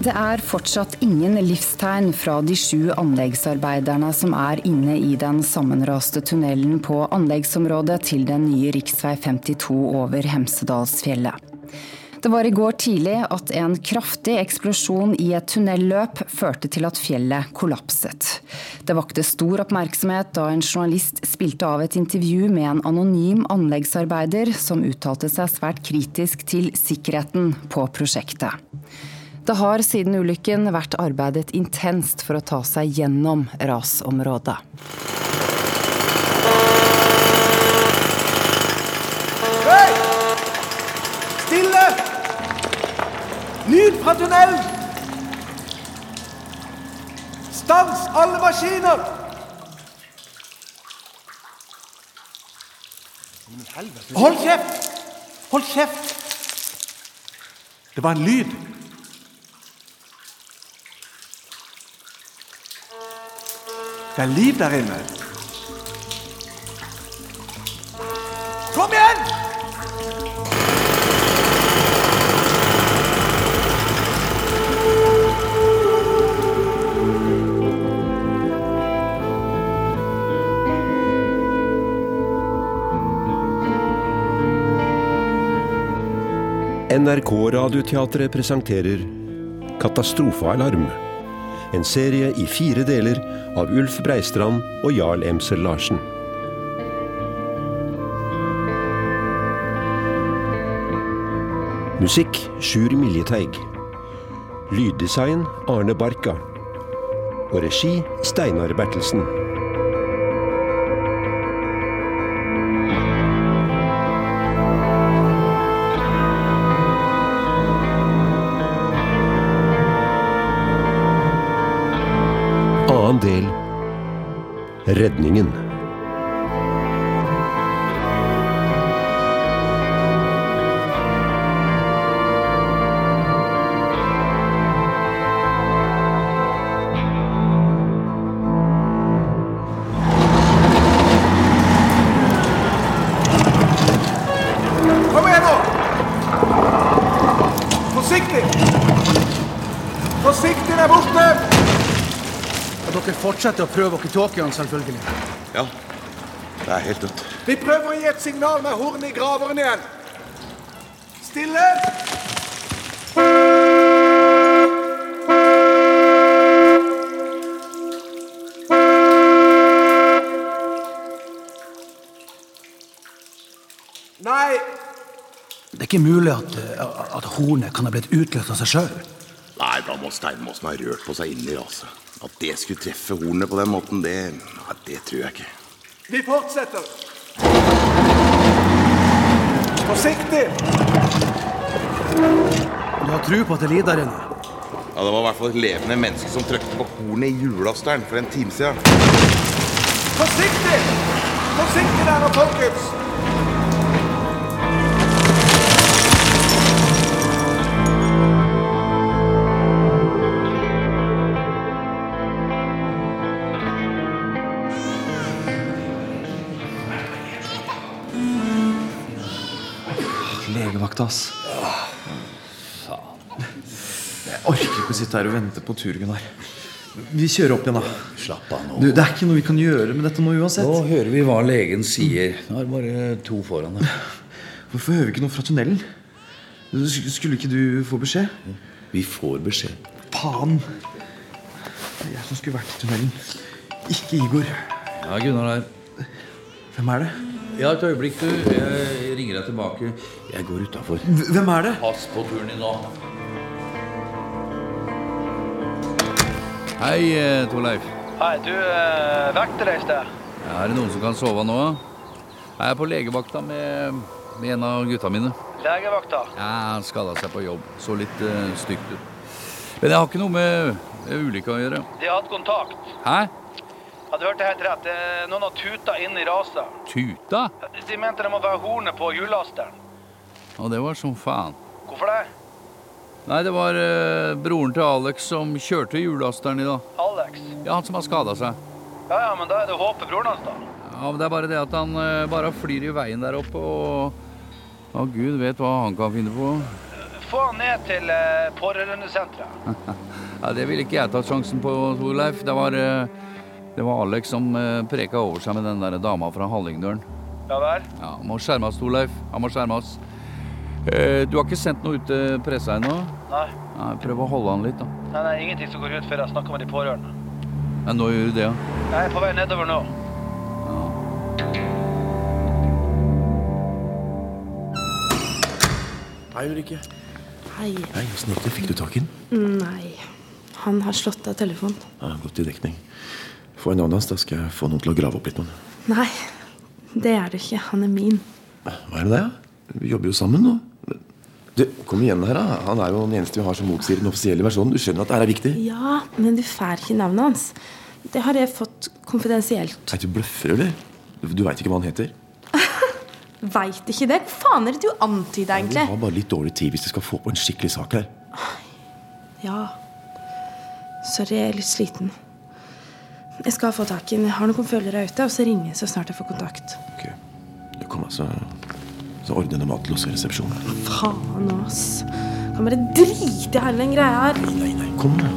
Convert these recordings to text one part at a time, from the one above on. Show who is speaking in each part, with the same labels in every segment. Speaker 1: Det er fortsatt ingen livstegn fra de sju anleggsarbeiderne som er inne i den sammenraste tunnelen på anleggsområdet til den nye rv. 52 over Hemsedalsfjellet. Det var i går tidlig at en kraftig eksplosjon i et tunnelløp førte til at fjellet kollapset. Det vakte stor oppmerksomhet da en journalist spilte av et intervju med en anonym anleggsarbeider som uttalte seg svært kritisk til sikkerheten på prosjektet. Det har siden ulykken vært arbeidet intenst for å ta seg gjennom rasområdet.
Speaker 2: Hei! Stille! Lyd fra tunnel! Stans alle maskiner! Hold kjeft! Hold kjeft! Det var en lyd. Det er liv der inne. Kom igjen!
Speaker 3: NRK-radioteatret presenterer Katastrofealarm. En serie i fire deler av Ulf Breistrand og Jarl Emsel Larsen. Musikk Sjur Miljeteig. Lyddesign Arne Barka. Og regi Steinar Bertelsen. Annen del Redningen.
Speaker 2: Kom igjen nå! Forsiktig! Forsiktig der borte!
Speaker 4: Og dere fortsetter å prøve dere tåkeånd, selvfølgelig.
Speaker 5: Ja, det er helt dødt.
Speaker 2: Vi prøver å gi et signal med hornet i graveren igjen. Stille! Nei,
Speaker 4: Det er ikke mulig at, eh, at hornet kan ha blitt utløst av seg sjøl.
Speaker 5: Nei, da må Steinmåsen ha rørt på seg inni raset. At det skulle treffe hornet på den måten, det, nei, det tror jeg ikke.
Speaker 2: vi fortsetter. Forsiktig!
Speaker 4: Du har tro på at det lider der inne.
Speaker 5: Ja, Det var i hvert fall et levende menneske som trykte på hornet i julasteren for en time siden.
Speaker 2: Forsiktig! Forsiktig der nå, folkens!
Speaker 6: Legevakt, ass. Faen. Jeg orker ikke å sitte her og vente på tur, Gunnar. Vi kjører opp igjen, da. Slapp av nå. Du, det er ikke noe vi kan gjøre med dette nå uansett.
Speaker 7: Nå hører vi hva legen sier. Nå er det bare to foran deg.
Speaker 6: Hvorfor hører vi ikke noe fra tunnelen? Du, sk- Skulle ikke du få beskjed?
Speaker 7: Vi får beskjed.
Speaker 6: Faen! Det er jeg som skulle vært i tunnelen. Ikke Igor.
Speaker 7: Ja, Gunnar her.
Speaker 6: Hvem er det?
Speaker 7: Ja, et øyeblikk, du. Jeg ringer deg tilbake. Jeg går utafor.
Speaker 6: Hv- Hvem er det?
Speaker 7: Pass på turen din nå. Hei, eh, Torleif.
Speaker 8: Hei, du eh, vekte deg i sted.
Speaker 7: Er det noen som kan sove nå? Jeg er på legevakta med, med en av gutta mine.
Speaker 8: Legevakta.
Speaker 7: Ja, Han skada seg på jobb. Så litt eh, stygt ut. Men jeg har ikke noe med eh, ulykka å gjøre.
Speaker 8: De har hatt kontakt.
Speaker 7: Hæ?
Speaker 8: Ja, du hørte helt rett. Det er Noen har tuta inn i raset.
Speaker 7: Tuta?
Speaker 8: De mente det må være hornet på hjullasteren.
Speaker 7: Og det var som faen.
Speaker 8: Hvorfor det?
Speaker 7: Nei, det var eh, broren til Alex som kjørte hjullasteren i dag.
Speaker 8: Alex.
Speaker 7: Ja, han som har skada seg.
Speaker 8: Ja, ja, men da er det håpet broren hans, da.
Speaker 7: Ja, men Det er bare det at han eh, bare flyr i veien der oppe og Å, gud vet hva han kan finne på.
Speaker 9: få han ned til eh, pårørendesenteret.
Speaker 10: Ja, det ville ikke jeg tatt sjansen på, Torleif. Det var, eh, det var Alex som eh, preka over seg med den der dama fra Hallingdølen.
Speaker 9: Ja vel?
Speaker 10: Ja, han må skjermes, Torleif. Han må skjermes. Eh, Du har ikke sendt noe ut til pressa ennå?
Speaker 9: Nei.
Speaker 10: Nei, Prøv å holde han litt, da.
Speaker 9: Nei, nei, ingenting som går ut før jeg snakker med de pårørende.
Speaker 10: Ja, nå gjør du det, ja.
Speaker 9: Jeg er på vei nedover nå.
Speaker 11: Hei, Ulrikke.
Speaker 12: Hei.
Speaker 11: Hei, Åssen gikk det? Fikk du tak i den?
Speaker 12: Nei. Han har slått av telefonen.
Speaker 11: Ja, Godt i dekning. Få en annen, da skal jeg få noen til å grave opp litt. Mann.
Speaker 12: Nei, det er det ikke. Han er min.
Speaker 11: Hva er det det? ja? Vi jobber jo sammen nå. Du, Kom igjen her, da. Han er jo den eneste vi har som motsier den offisielle versjonen. Du skjønner at det her er viktig?
Speaker 12: Ja, men du får ikke navnet hans. Det har jeg fått konfidensielt.
Speaker 11: Nei, du bløffer, eller? Du, du veit ikke hva han heter?
Speaker 12: Veit ikke det? Hva faen er det du antyder,
Speaker 11: Vi
Speaker 12: egentlig?
Speaker 11: har bare litt dårlig tid hvis vi skal få på en skikkelig sak her.
Speaker 12: Ja. Sorry, jeg er litt sliten. Jeg skal få tak i den. Jeg har noen følgere ute, og så ringer jeg så snart jeg får kontakt.
Speaker 11: Ok, du kom altså Så ordner jeg noe mat til oss i resepsjonen.
Speaker 12: Faen, ass. Kan bare drite i hele den greia her.
Speaker 11: Nei, nei, kom da.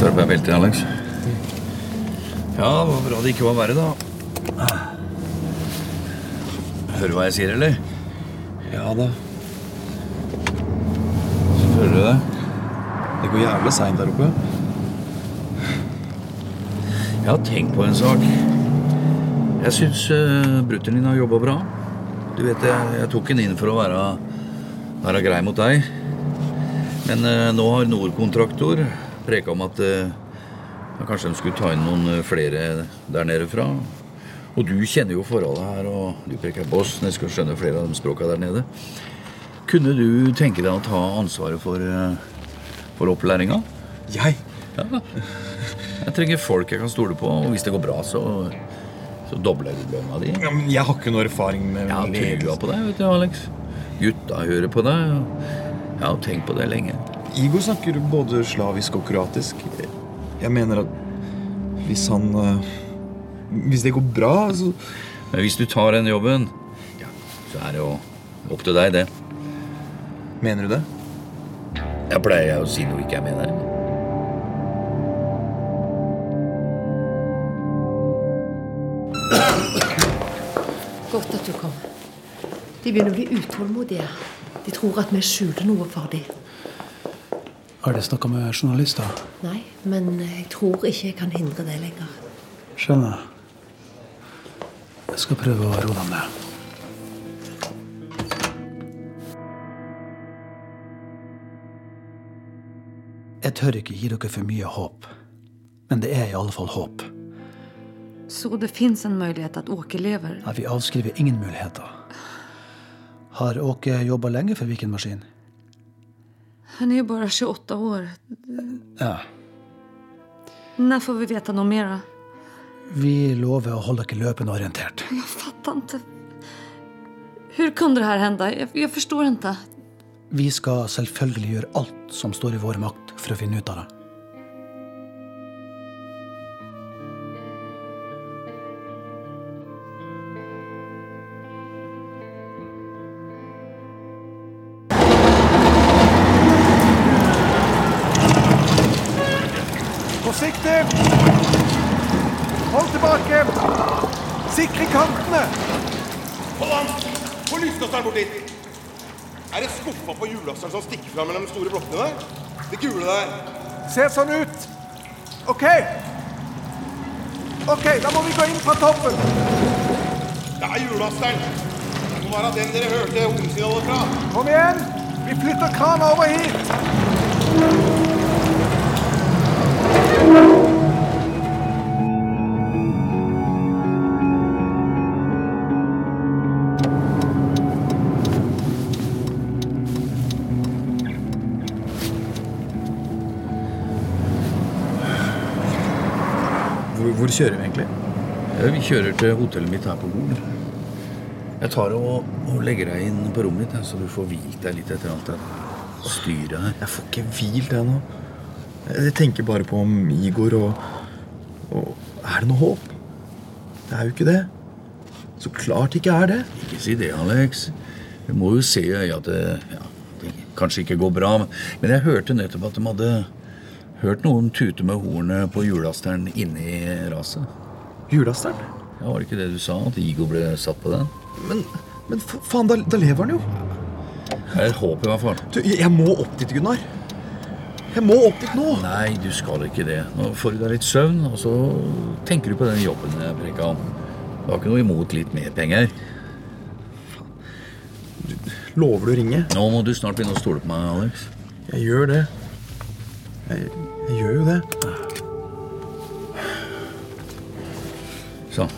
Speaker 7: Tar på deg beltet, Alex. Ja, det var bra det ikke var verre, da. Hører du hva jeg sier, eller? Ja da. Hører du det? Det går jævlig seint der oppe. Jeg har tenkt på en sak. Jeg syns uh, brutter'n din har jobba bra. Du vet, jeg, jeg tok den inn for å være, være grei mot deg. Men eh, nå har Nordkontraktor preka om at eh, ja, kanskje de skulle ta inn noen eh, flere der nede fra. Og du kjenner jo forholdet her, og du preker bosnisk og skjønner flere av de språka der nede. Kunne du tenke deg å ta ansvaret for, eh, for opplæringa? Jeg? Ja. Jeg trenger folk jeg kan stole på, og hvis det går bra, så, så dobler du lønna di.
Speaker 6: Ja, men jeg har ikke noe erfaring med
Speaker 7: Ja, trua på deg, vet du, Alex. Gutta hører på deg. og Jeg har tenkt på det lenge.
Speaker 6: Igor snakker både slavisk og kroatisk. Jeg mener at hvis han eh, Hvis det går bra, altså. så
Speaker 7: Men hvis du tar den jobben, så er det jo opp til deg, det. Mener du det? Jeg pleier å si noe ikke jeg mener.
Speaker 13: Godt at du kom. De begynner å bli utålmodige. De tror at vi skjuler noe for dem.
Speaker 4: Har dere snakka med journalister?
Speaker 13: Nei, men jeg tror ikke jeg kan hindre det lenger.
Speaker 4: Skjønner. Jeg skal prøve å roe dem ned. Jeg tør ikke gi dere for mye håp. Men det er i alle fall håp.
Speaker 14: Så det finns en möjlighet att Åke lever?
Speaker 4: At vi avskriver ingen muligheter. Har Åke jobba lenge for Viken Maskin?
Speaker 14: Han är ju bara 28 år.
Speaker 4: Ja.
Speaker 14: När får vi veta något mera?
Speaker 4: Vi lover å holde dere løpende orientert.
Speaker 14: Jag fattar inte. Hur kunde det här hända? Jag, jag förstår inte.
Speaker 4: Vi skal selvfølgelig gjøre alt som står i vår makt for å finne ut av det.
Speaker 2: Forsiktig! Hold tilbake! Sikre kantene!
Speaker 15: Hold an! Få lyskasteren bort dit! Er det skuffa på hjullasteren som stikker fra mellom de store blokkene der? Det gule der.
Speaker 2: Ser sånn ut. OK. OK, da må vi gå inn fra toppen.
Speaker 15: Det er hjullasteren. Det må være den dere hørte hovedsignalet fra.
Speaker 2: Kom igjen. Vi flytter krana over hit.
Speaker 7: Hvor, hvor kjører vi egentlig? Vi kjører til hotellet mitt her på Gol. Jeg tar og, og legger deg inn på rommet ditt, jeg, så du får hvilt deg litt etter alt det styret her.
Speaker 6: Jeg får ikke hvilt, jeg nå. Jeg tenker bare på om Igor og, og Er det noe håp? Det er jo ikke det. Så klart ikke er det.
Speaker 7: Ikke si det, Alex. Du må jo se i øya at det, ja, det kanskje ikke går bra. men- Men jeg hørte nettopp at de hadde hørt noen tute med hornet på julasteren inne i raset.
Speaker 6: Julasteren?
Speaker 7: Ja, Var det ikke det du sa? At Igo ble satt på den?
Speaker 6: Men, men fa- faen, da, da lever han jo.
Speaker 7: Det er et håp, i hvert fall.
Speaker 6: Du, jeg jeg må opp dit, Gunnar. Jeg må opp dit nå.
Speaker 7: Nei, du skal ikke det. Nå får du deg litt søvn, og så tenker du på den jobben jeg preka om. Du har ikke noe imot litt mer penger?
Speaker 6: Lover du å ringe?
Speaker 7: Nå må du snart begynne å stole på meg, Alex.
Speaker 6: Jeg gjør det. Jeg, jeg gjør jo det.
Speaker 7: Sånn.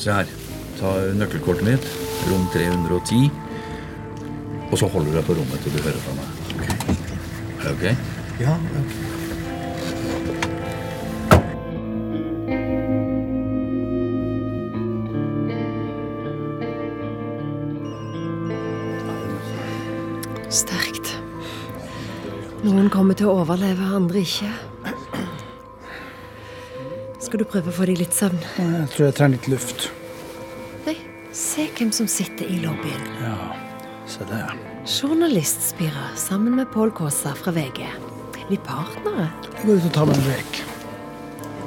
Speaker 7: Se her. Ta nøkkelkortet mitt, rom 310. Og så holder du deg på rommet til du hører fra meg. Er det ok?
Speaker 6: Ja,
Speaker 13: Sterkt. Noen kommer til å overleve, andre ikke. Skal du prøve å få deg litt søvn?
Speaker 4: Jeg tror jeg trenger litt luft.
Speaker 13: Eh. Nei, se hvem som sitter i lobbyen.
Speaker 4: Ja, se det.
Speaker 13: Journalist Spira sammen med Pål Kaasa fra VG. Er de partnere?
Speaker 4: Jeg går ut og tar meg en røyk.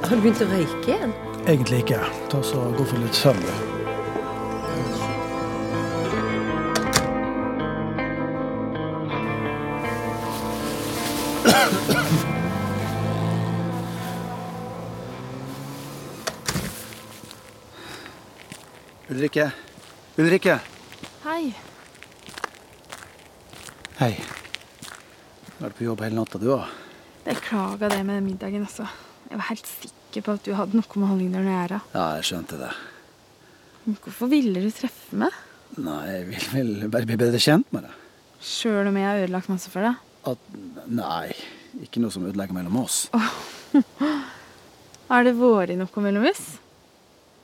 Speaker 13: Har du begynt å røyke igjen?
Speaker 4: Egentlig ikke. Ta så Gå for litt søvn. du. Ulrikke. Ulrikke.
Speaker 12: Hei.
Speaker 4: Hei. Du har vært på jobb hele natta, du òg.
Speaker 12: Beklaga det med den middagen, altså. Jeg var helt sikker på at du hadde noe med Hallingdølen å gjøre.
Speaker 4: Ja, jeg skjønte det.
Speaker 12: Men hvorfor ville du treffe meg?
Speaker 4: Nei, jeg vil vel bare bli bedre kjent med deg.
Speaker 12: Sjøl om jeg har ødelagt masse for deg?
Speaker 4: At Nei, ikke noe som ødelegger mellom oss.
Speaker 12: Har det vært noe mellom oss?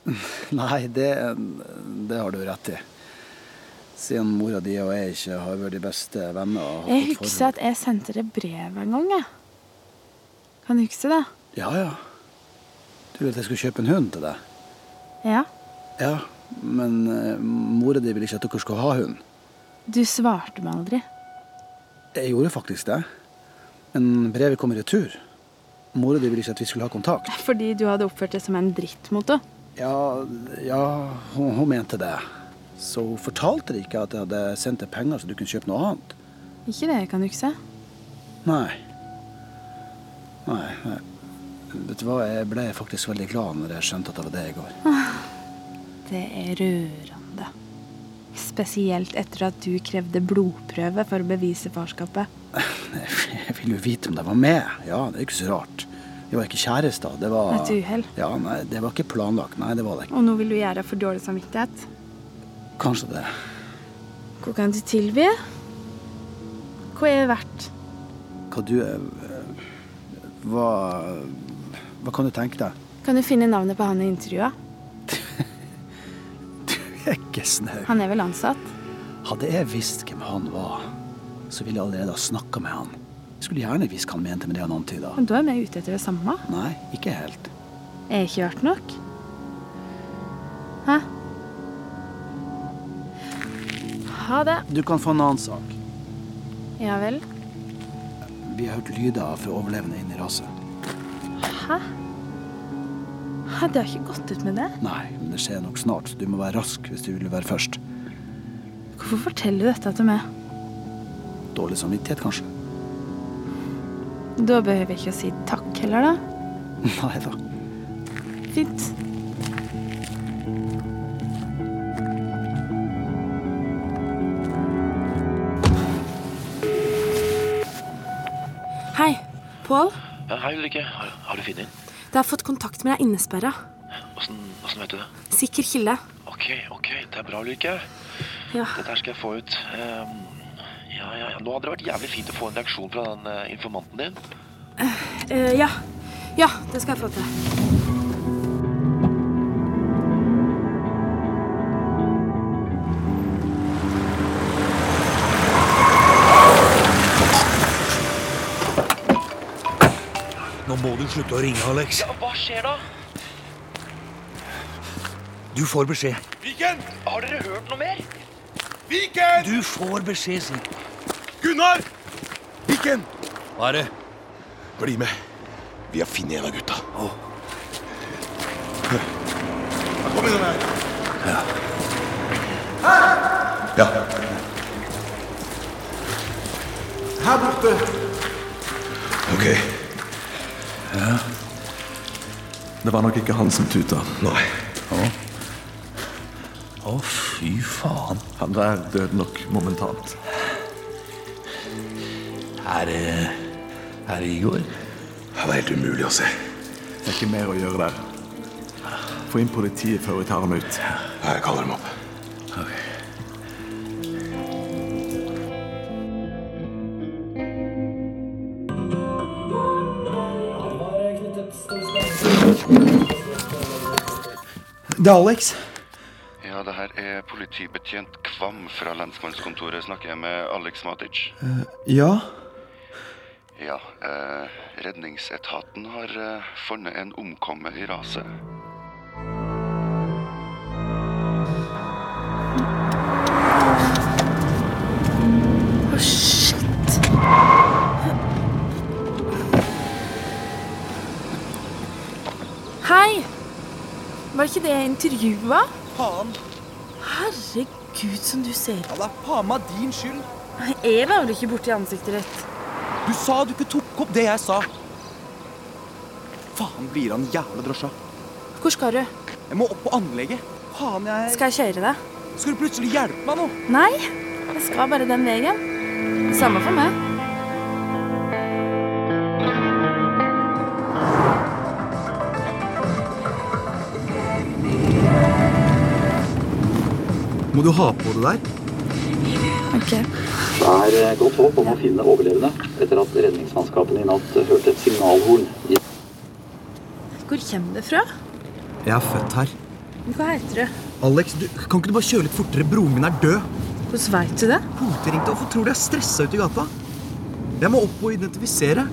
Speaker 4: Nei, det, det har du rett i. Siden mora di og jeg ikke har vært de beste venner og
Speaker 12: Jeg husker at jeg sendte deg brev en gang, jeg. Kan du huske det?
Speaker 4: Ja, ja. Du ville at jeg skulle kjøpe en hund til deg?
Speaker 12: Ja.
Speaker 4: Ja, men eh, mora di ville ikke at dere skulle ha hund.
Speaker 12: Du svarte meg aldri.
Speaker 4: Jeg gjorde faktisk det. Men brevet kom i retur. Mora di ville ikke at vi skulle ha kontakt.
Speaker 12: Fordi du hadde oppført deg som en dritt mot henne.
Speaker 4: Ja, ja hun, hun mente det. Så hun fortalte deg ikke at jeg hadde sendt deg penger så du kunne kjøpe noe annet?
Speaker 12: Ikke det jeg kan huske.
Speaker 4: Nei. Nei, nei. Vet du hva, jeg ble faktisk veldig glad når jeg skjønte at det var det i går.
Speaker 12: Ah. Det er rørende. Spesielt etter at du krevde blodprøve for å bevise farskapet.
Speaker 4: Jeg ville jo vite om det var med. Ja, det er ikke så rart. Vi var ikke kjærester. Det var
Speaker 12: Et uhell.
Speaker 4: Ja, nei, det var ikke planlagt. Nei, det var det ikke.
Speaker 12: Og nå vil du gjøre deg for dårlig samvittighet.
Speaker 4: Kanskje det.
Speaker 12: Hva kan du tilby? Hva er jeg verdt?
Speaker 4: Hva du eh, Hva Hva kan du tenke deg?
Speaker 12: Kan du finne navnet på han i intervjua?
Speaker 4: Ikke snau.
Speaker 12: Han er vel ansatt?
Speaker 4: Hadde jeg visst hvem han var, så ville jeg allerede ha snakka med han. Jeg skulle gjerne visst hva han mente med det han antyda.
Speaker 12: Men da er vi ute etter det samme.
Speaker 4: Nei, ikke helt.
Speaker 12: Er jeg ikke verdt nok? Hæ? Ha det.
Speaker 4: Du kan få en annen sak.
Speaker 12: Ja vel.
Speaker 4: Vi har hørt lyder fra overlevende inn i raset.
Speaker 12: Hæ? Hæ, Det har ikke gått ut med det.
Speaker 4: Nei, men det skjer nok snart, så du må være rask hvis du vil være først.
Speaker 12: Hvorfor forteller du dette til meg?
Speaker 4: Dårlig samvittighet, kanskje?
Speaker 12: Da behøver jeg ikke å si takk heller, da.
Speaker 4: Nei da.
Speaker 12: Fint. Hei, Pål.
Speaker 11: Ja, hei, Ulrikke. Har, har du funnet inn?
Speaker 12: Du har fått kontakt med deg innesperra.
Speaker 11: Åssen åssen vet du det?
Speaker 12: Sikker kilde.
Speaker 11: Ok, ok, det er bra, Ulrikke.
Speaker 12: Ja.
Speaker 11: Dette her skal jeg få ut. Ehm, ja, ja, ja. Nå hadde det vært jævlig fint å få en reaksjon fra den eh, informanten din.
Speaker 12: Eh, ja. Ja, det skal jeg få til.
Speaker 4: Nå må du slutte å ringe, Alex.
Speaker 11: Hva skjer da?
Speaker 3: Du får beskjed.
Speaker 2: Viken! Har dere hørt noe mer? Viken!
Speaker 3: Du får beskjed, Sig.
Speaker 2: Gunnar!
Speaker 5: Viken!
Speaker 16: Hva er det?
Speaker 5: Bli med. Vi har funnet en av gutta.
Speaker 2: Kom innom her.
Speaker 5: Ja.
Speaker 17: Her borte.
Speaker 18: Ok. Ja. Det var nok ikke han som tuta. Nei. Å, fy faen. Han er død nok momentant.
Speaker 16: Er det Er det Igor?
Speaker 18: Han er helt umulig å se. Det er ikke mer å gjøre der. Få inn politiet før vi tar ham ut. Jeg kaller dem opp.
Speaker 6: Det er Alex.
Speaker 19: Ja, det her er politibetjent Kvam fra lensmannskontoret. Snakker jeg med Alex Matic?
Speaker 6: Eh, ja?
Speaker 19: Ja, eh, redningsetaten har eh, funnet en omkommet i raset.
Speaker 12: Å, shit! Hei! Var ikke det jeg intervjua? Faen. Herregud, som du ser ut. Ja, det er faen meg din skyld. Jeg var vel ikke borti ansiktet ditt.
Speaker 6: Du sa du ikke tok opp det jeg sa. Faen blir han jævla drosja.
Speaker 12: Hvor skal du?
Speaker 6: Jeg må opp på anlegget. Faen, jeg
Speaker 12: Skal jeg kjøre deg?
Speaker 6: Skal du plutselig hjelpe meg nå?
Speaker 12: Nei, jeg skal bare den veien. Samme for meg.
Speaker 6: Må du ha på det der?
Speaker 12: Ok.
Speaker 7: Det er eh, godt håp om å finne overlevende etter at redningsmannskapene i natt eh, hørte et signalhorn.
Speaker 12: Hvor kommer det fra?
Speaker 6: Jeg er født her.
Speaker 12: Hva heter du?
Speaker 6: Alex, du, kan ikke du bare kjøre litt fortere? Broren min er død.
Speaker 12: Hvordan veit du det?
Speaker 6: Hoteringte. Hvorfor tror du jeg er stressa ute i gata? Jeg må opp og identifisere.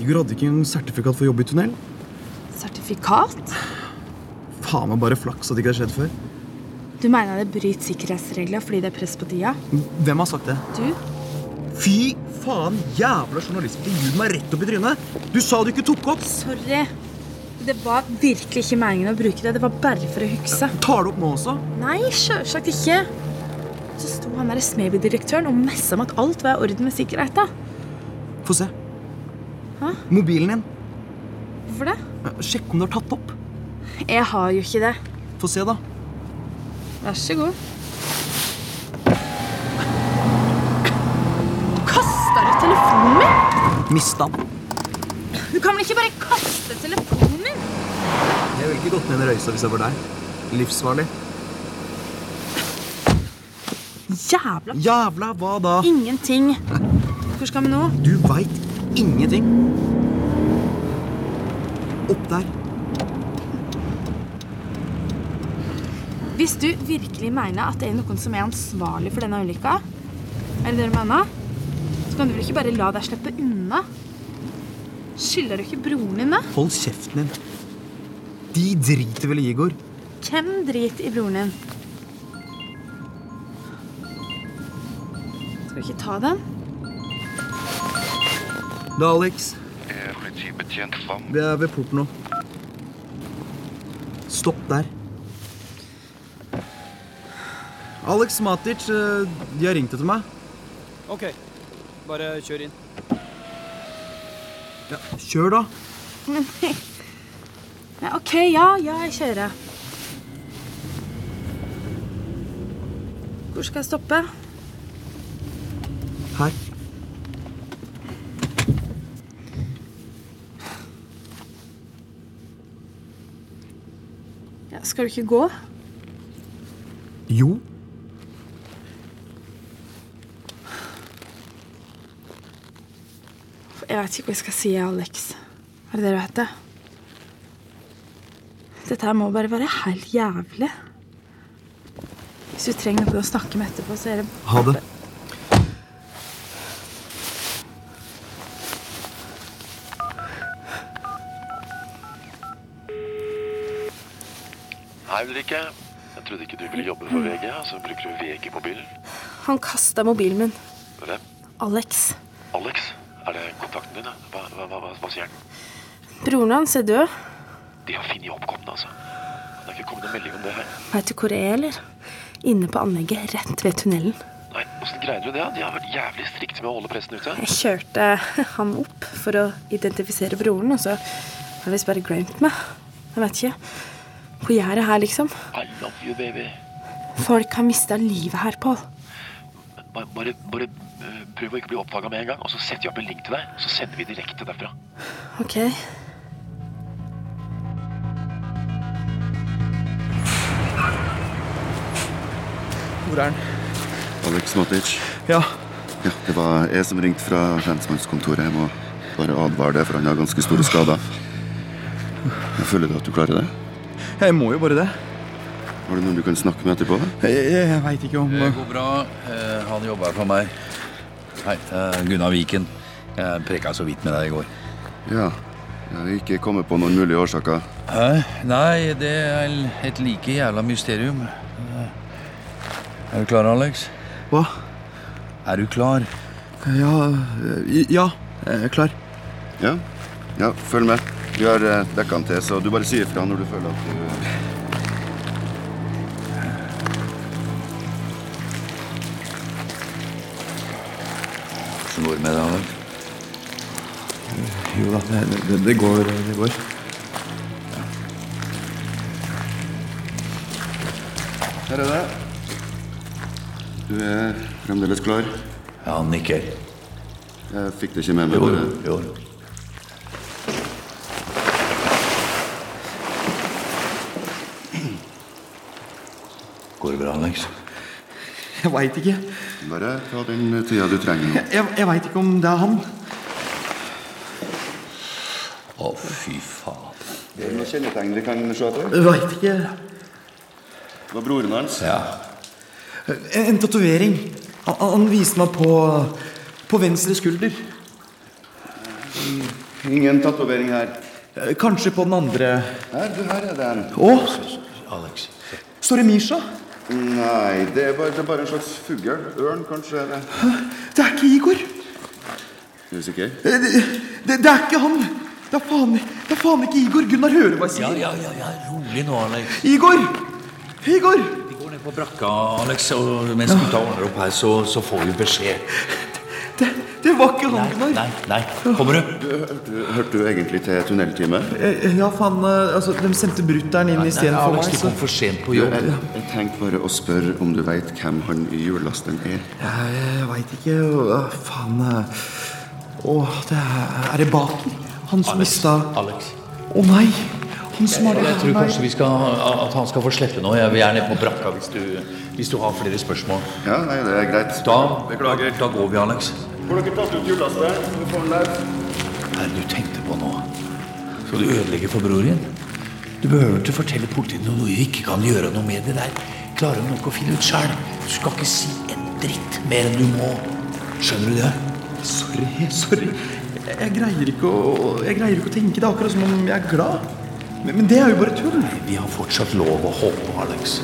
Speaker 6: Igor hadde ikke en sertifikat for å jobbe i tunnel.
Speaker 12: Sertifikat?
Speaker 6: Faen meg bare flaks at det ikke har skjedd før.
Speaker 12: Du mener det bryter sikkerhetsregler fordi det er press på tida?
Speaker 6: Hvem har sagt det?
Speaker 12: Du?
Speaker 6: Fy faen, jævla journalister. De ljuger meg rett opp i trynet. Du sa du ikke tok opp.
Speaker 12: Sorry. Det var virkelig ikke meningen å bruke det. Det var bare for å hukse.
Speaker 6: Tar du opp nå også?
Speaker 12: Nei, sjølsagt ikke. Så sto han der Smeby-direktøren og messa om at alt var i orden med sikkerheta.
Speaker 6: Få se.
Speaker 12: Hæ?
Speaker 6: Mobilen din.
Speaker 12: Hvorfor det?
Speaker 6: Sjekk om du har tatt opp.
Speaker 12: Jeg har jo ikke det.
Speaker 6: Få se, da.
Speaker 12: Vær så god. Kasta du telefonen min?
Speaker 6: Mista den.
Speaker 12: Du kan vel ikke bare kaste telefonen min?
Speaker 6: Jeg ville ikke gått ned i røysa hvis jeg var deg. Livsfarlig.
Speaker 12: Jævla
Speaker 6: Jævla hva da?
Speaker 12: Ingenting. Hvor skal vi nå?
Speaker 6: Du veit ingenting. Opp der.
Speaker 12: Hvis du virkelig mener at det er noen som er ansvarlig for denne ulykka, er det det du mener? Så kan du vel ikke bare la deg slippe unna? Skylder du ikke broren din, da?
Speaker 6: Hold kjeften din. De driter vel i Igor.
Speaker 12: Hvem driter i broren din? Skal vi ikke ta den?
Speaker 6: Det er Alex.
Speaker 19: Eh, Politibetjent Kvam.
Speaker 6: Vi er ved porten nå. Stopp der. Alex Matic, eh, de har ringt etter meg.
Speaker 4: Ok, bare kjør inn.
Speaker 6: Kjør, da.
Speaker 12: Men Nei, OK, ja, ja, jeg kjører. Hvor skal jeg stoppe?
Speaker 6: Her.
Speaker 12: Ja, skal du ikke gå?
Speaker 6: Jo.
Speaker 12: Jeg vet ikke hva jeg skal si, Alex. Er det det du heter? Dette her må bare være helt jævlig. Hvis du trenger noen å snakke med etterpå, så er det
Speaker 6: Ha det.
Speaker 11: Hei, Ulrikke. Jeg trodde ikke du ville jobbe for VG, så bruker du VG på bilen.
Speaker 12: Han kasta mobilen min.
Speaker 11: Hvem?
Speaker 12: Alex.
Speaker 11: Alex? Er det kontakten din? da? Hva, hva, hva, hva- hva sier han?
Speaker 12: Broren hans er død.
Speaker 11: De har funnet oppkomne, altså. Det er ikke kommet noen melding om det her.
Speaker 12: Veit du hvor det er, eller? Inne på anlegget rett ved tunnelen.
Speaker 11: Nei, Åssen greide du det? da? De har vært jævlig strikte med å holde pressen ute.
Speaker 12: Jeg kjørte han opp for å identifisere broren, og så har jeg visst bare glemt meg. Jeg vet ikke. På gjerdet her, liksom.
Speaker 11: I love you, baby.
Speaker 12: Folk har mista livet her, Pål.
Speaker 11: Bare, bare, bare eh, prøv å ikke bli oppdaga med en gang, og så setter vi opp en link til deg. Så sender vi direkte derfra.
Speaker 12: OK.
Speaker 6: Hvor er han?
Speaker 19: Alex Matic.
Speaker 6: Ja.
Speaker 19: Ja, det var jeg som ringte fra lensmannskontoret. Jeg må bare advare deg, for han har ganske store skader. Jeg føler du at du klarer det?
Speaker 6: Jeg må jo bare det.
Speaker 19: Har du noen du kan snakke med etterpå?
Speaker 6: Jeg, jeg, jeg veit ikke om
Speaker 7: Det går bra. Eh, Han jobber for meg. Hei, eh, Gunnar Viken. Jeg preka så vidt med deg i går.
Speaker 19: Ja. Jeg har ikke kommet på noen mulige årsaker.
Speaker 7: Hæ? Nei, det er l- et like jævla mysterium. Eh, Er du klar, Alex?
Speaker 6: Hva?
Speaker 7: Er du klar?
Speaker 6: Ja, eh, ja, jeg er klar.
Speaker 19: Ja? Ja, følg med. Vi har eh, dekka han til, så du bare sier ifra når du føler at du
Speaker 7: Hvordan går det med deg, Alex?
Speaker 20: Jo da, det, det, det går. Det går.
Speaker 19: Her er det. Du er fremdeles klar?
Speaker 7: Ja, han nikker.
Speaker 19: Jeg fikk det ikke med meg. bare-
Speaker 7: Jo. Går det bra, Alex?
Speaker 6: Jeg veit ikke.
Speaker 19: Bare ta den tida du trenger nå.
Speaker 6: Jeg, jeg, jeg veit ikke om det er han.
Speaker 7: Å, fy faen.
Speaker 19: Det er noen kjennetegn vi kan se etter?
Speaker 6: Jeg veit ikke.
Speaker 19: Det var broren hans?
Speaker 7: Ja.
Speaker 6: En, en tatovering. Han, han viste meg på På venstre skulder.
Speaker 19: Ingen tatovering her.
Speaker 6: Eh, Kanskje på den andre
Speaker 19: Her, du, her er det en.
Speaker 6: Å!
Speaker 7: Alex.
Speaker 6: Står det Misha?
Speaker 19: Nei, det er, bare, det er bare en slags fugl. Ørn, kanskje? er det?
Speaker 6: Det er ikke Igor! Eh,
Speaker 19: Er du sikker?
Speaker 6: Det, det, det er ikke han! Det er faen, det er faen ikke Igor! Gunnar hører hva jeg sier.
Speaker 7: Ja, ja, ja, rolig nå, Alex.
Speaker 6: Igor! Igor!
Speaker 7: Vi går ned på brakka, Alex, og mens gutta ordner opp her, så, så får vi beskjed.
Speaker 6: Det var ikke han, Gunnar.
Speaker 7: Nei, nei, kommer du?
Speaker 19: Hørte du, hørte du egentlig til tunneltime?
Speaker 6: Eh, eh, Ja, faen, eh, altså, de sendte brutter'n inn istedenfor meg. så-
Speaker 7: sent
Speaker 6: på jobb.
Speaker 19: Jeg, jeg tenkte bare å spørre om du veit hvem han i julelasteren er.
Speaker 6: Ja, Jeg veit ikke Å, Faen. eh. Å, det er, er det Baker? Han som mista
Speaker 7: Alex.
Speaker 6: Å nei! Han som har det
Speaker 7: Jeg tror
Speaker 6: Nei.
Speaker 7: kanskje vi skal, at han skal få slippe nå. Jeg- Vi er nede på brakka hvis du, hvis du har flere spørsmål.
Speaker 19: Ja, nei, det er greit.
Speaker 7: Da, Beklager. Da går vi, Alex.
Speaker 19: Får dere tatt ut julelasteren? så får den der?
Speaker 7: Hva er det du tenkte på nå? Skal du ødelegge for bror din? Du behøver ikke fortelle politiet noe vi ikke kan gjøre noe med. Det der klarer de nok å finne ut sjøl. Du skal ikke si en dritt mer enn du må. Skjønner du det?
Speaker 6: Sorry, sorry. Jeg, jeg greier ikke å Jeg greier ikke å tenke. Det er akkurat som om jeg er glad. Men, men det er jo bare tull.
Speaker 7: Vi har fortsatt lov å håpe, Alex.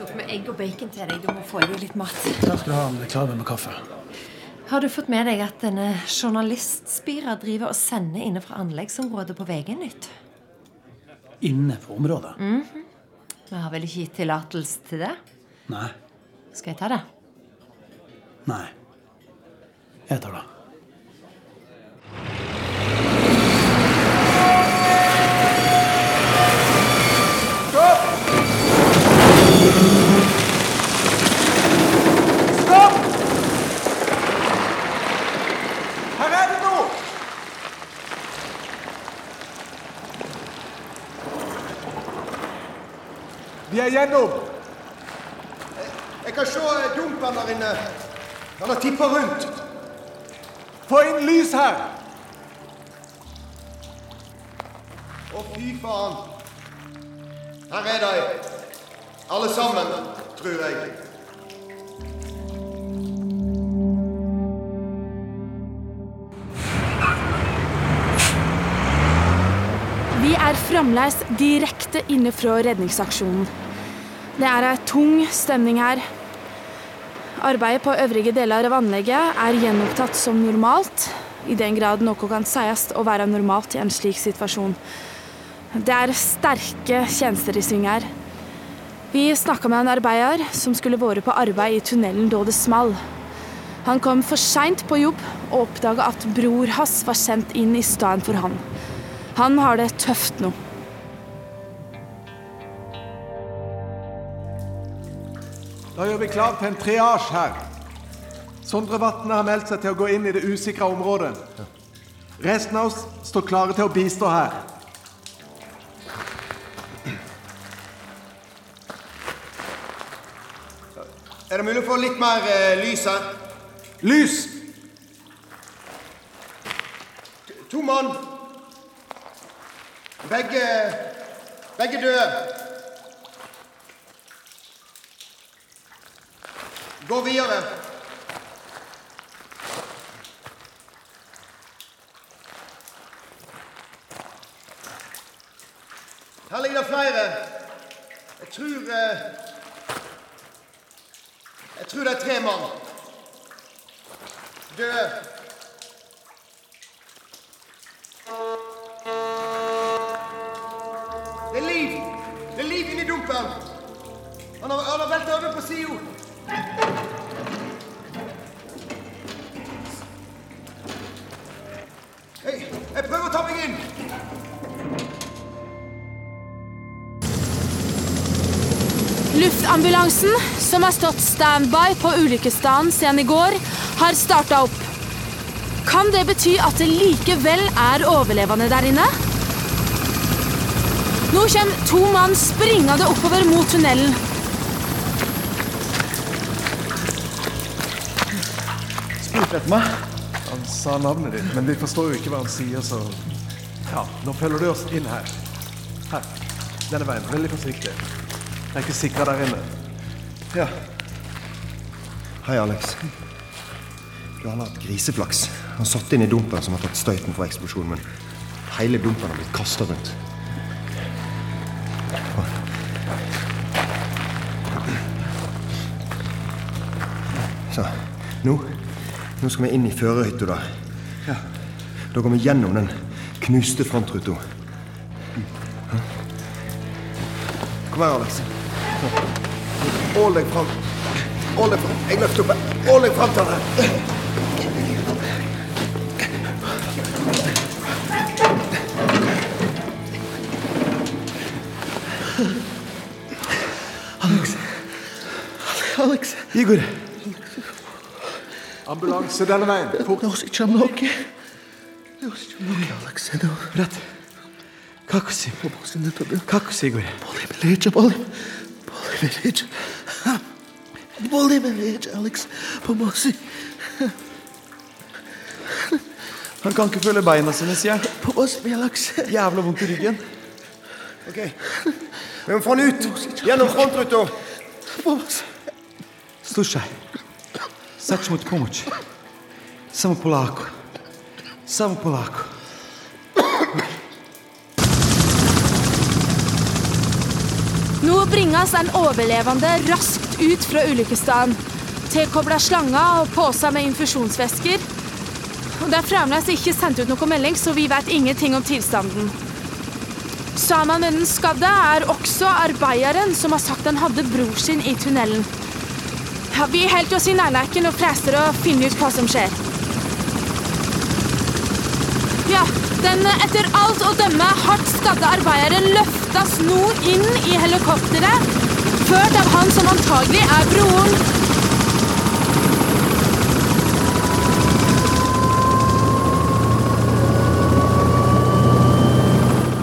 Speaker 13: tok med egg og bacon til deg. Du må få i deg litt mat.
Speaker 4: Takk skal du ha. men Jeg klarer meg med kaffe.
Speaker 13: Har du fått med deg at denne journalistspira driver og sender inne fra anleggsområdet på VG-nytt?
Speaker 4: Inne på området.
Speaker 13: Mhm. Vi har vel ikke gitt tillatelse til det?
Speaker 4: Nei.
Speaker 13: Skal jeg ta det?
Speaker 4: Nei. Jeg tar det.
Speaker 21: Stopp! Her er det noe! Vi er gjennom. Jeg kan se eh, dumpen der inne. Han har tippa rundt. Få inn lys her. Å, fy faen. Her er de. Alle sammen, tror jeg.
Speaker 12: Ramleis direkte inne fra redningsaksjonen. Det er ei tung stemning her. Arbeidet på øvrige deler av anlegget er gjenopptatt som normalt, i den grad noe kan sies å være normalt i en slik situasjon. Det er sterke tjenester i sving her. Vi snakka med en arbeider som skulle vært på arbeid i tunnelen da det small. Han kom for seint på jobb og oppdaga at bror hans var sendt inn i stedet for han. Han har det tøft nå.
Speaker 1: Da gjør vi klar til en triasje her. Sondre Vatne har meldt seg til å gå inn i det usikra området. Resten av oss står klare til å bistå her.
Speaker 21: Er det mulig å få litt mer eh, lys her?
Speaker 1: Lys!
Speaker 21: To mann. Begge Begge døde. Gå videre. Her ligger det flere. Jeg tror eh, Jeg tror det er tre mann. Døde. Det er liv! Det er liv inni dumpen! Han har, han har veltet over på sida! Jeg, jeg prøver å ta meg inn!
Speaker 12: Luftambulansen, som har stått standby på ulykkesstedet siden i går, har starta opp. Kan det bety at det likevel er overlevende der inne? Nå kommer to mann springende oppover mot tunnelen.
Speaker 22: Spurte etter meg. Han sa navnet ditt, men vi forstår jo ikke hva han sier, så Ja, nå følger du oss inn her. Her. Denne veien. Veldig forsiktig. Det er ikke sikra der inne. Ja.
Speaker 23: Hei, Alex. Du har hatt griseflaks. Han satt inn i dumpen som har tatt støyten fra eksplosjonen, men hele dumpen har blitt kasta rundt. Så, nå, nå skal vi inn i førerhytta, da.
Speaker 1: Ja.
Speaker 23: Da går vi gjennom den knuste frontruta.
Speaker 21: Kom her, Alex.
Speaker 23: Sånn.
Speaker 21: Ål deg fram. Ål deg fram. Jeg løfter opp. her. Ål deg fram til henne.
Speaker 24: Alex. Alex. Igor.
Speaker 1: Ambulanse denne veien. Fort.
Speaker 24: Det også kommer noe. Det også kommer noe, Alex. Det var rett. Kako si? Kako si, Igor? Boli me leđa, boli me. Boli me leđa. Boli me leđa, Alex. Pomozi.
Speaker 22: Han kan ikke føle beina sine, sier jeg.
Speaker 24: Pomozi mi, Alex.
Speaker 22: Jævla vondt i ryggen.
Speaker 21: Ok. Vi må få han ut. Gjennom frontruta.
Speaker 24: Pomozi.
Speaker 22: Slušaj, sad ćemo ti pomoći. Samo polako. Samo polako.
Speaker 12: Nå bringes en overlevende raskt ut fra ulykkesstedet. Tilkobla slanger og poser med infusjonsvæsker. Og Det er fremdeles ikke sendt ut noen melding, så vi vet ingenting om tilstanden. Sammen med den skadde er også arbeideren som har sagt han hadde bror sin i tunnelen. Ja, vi holder oss i nærheten og prester å finne ut hva som skjer. Ja, den etter alt å dømme hardt skadde arbeideren løftes nå inn i helikopteret, ført av han som antagelig er broren.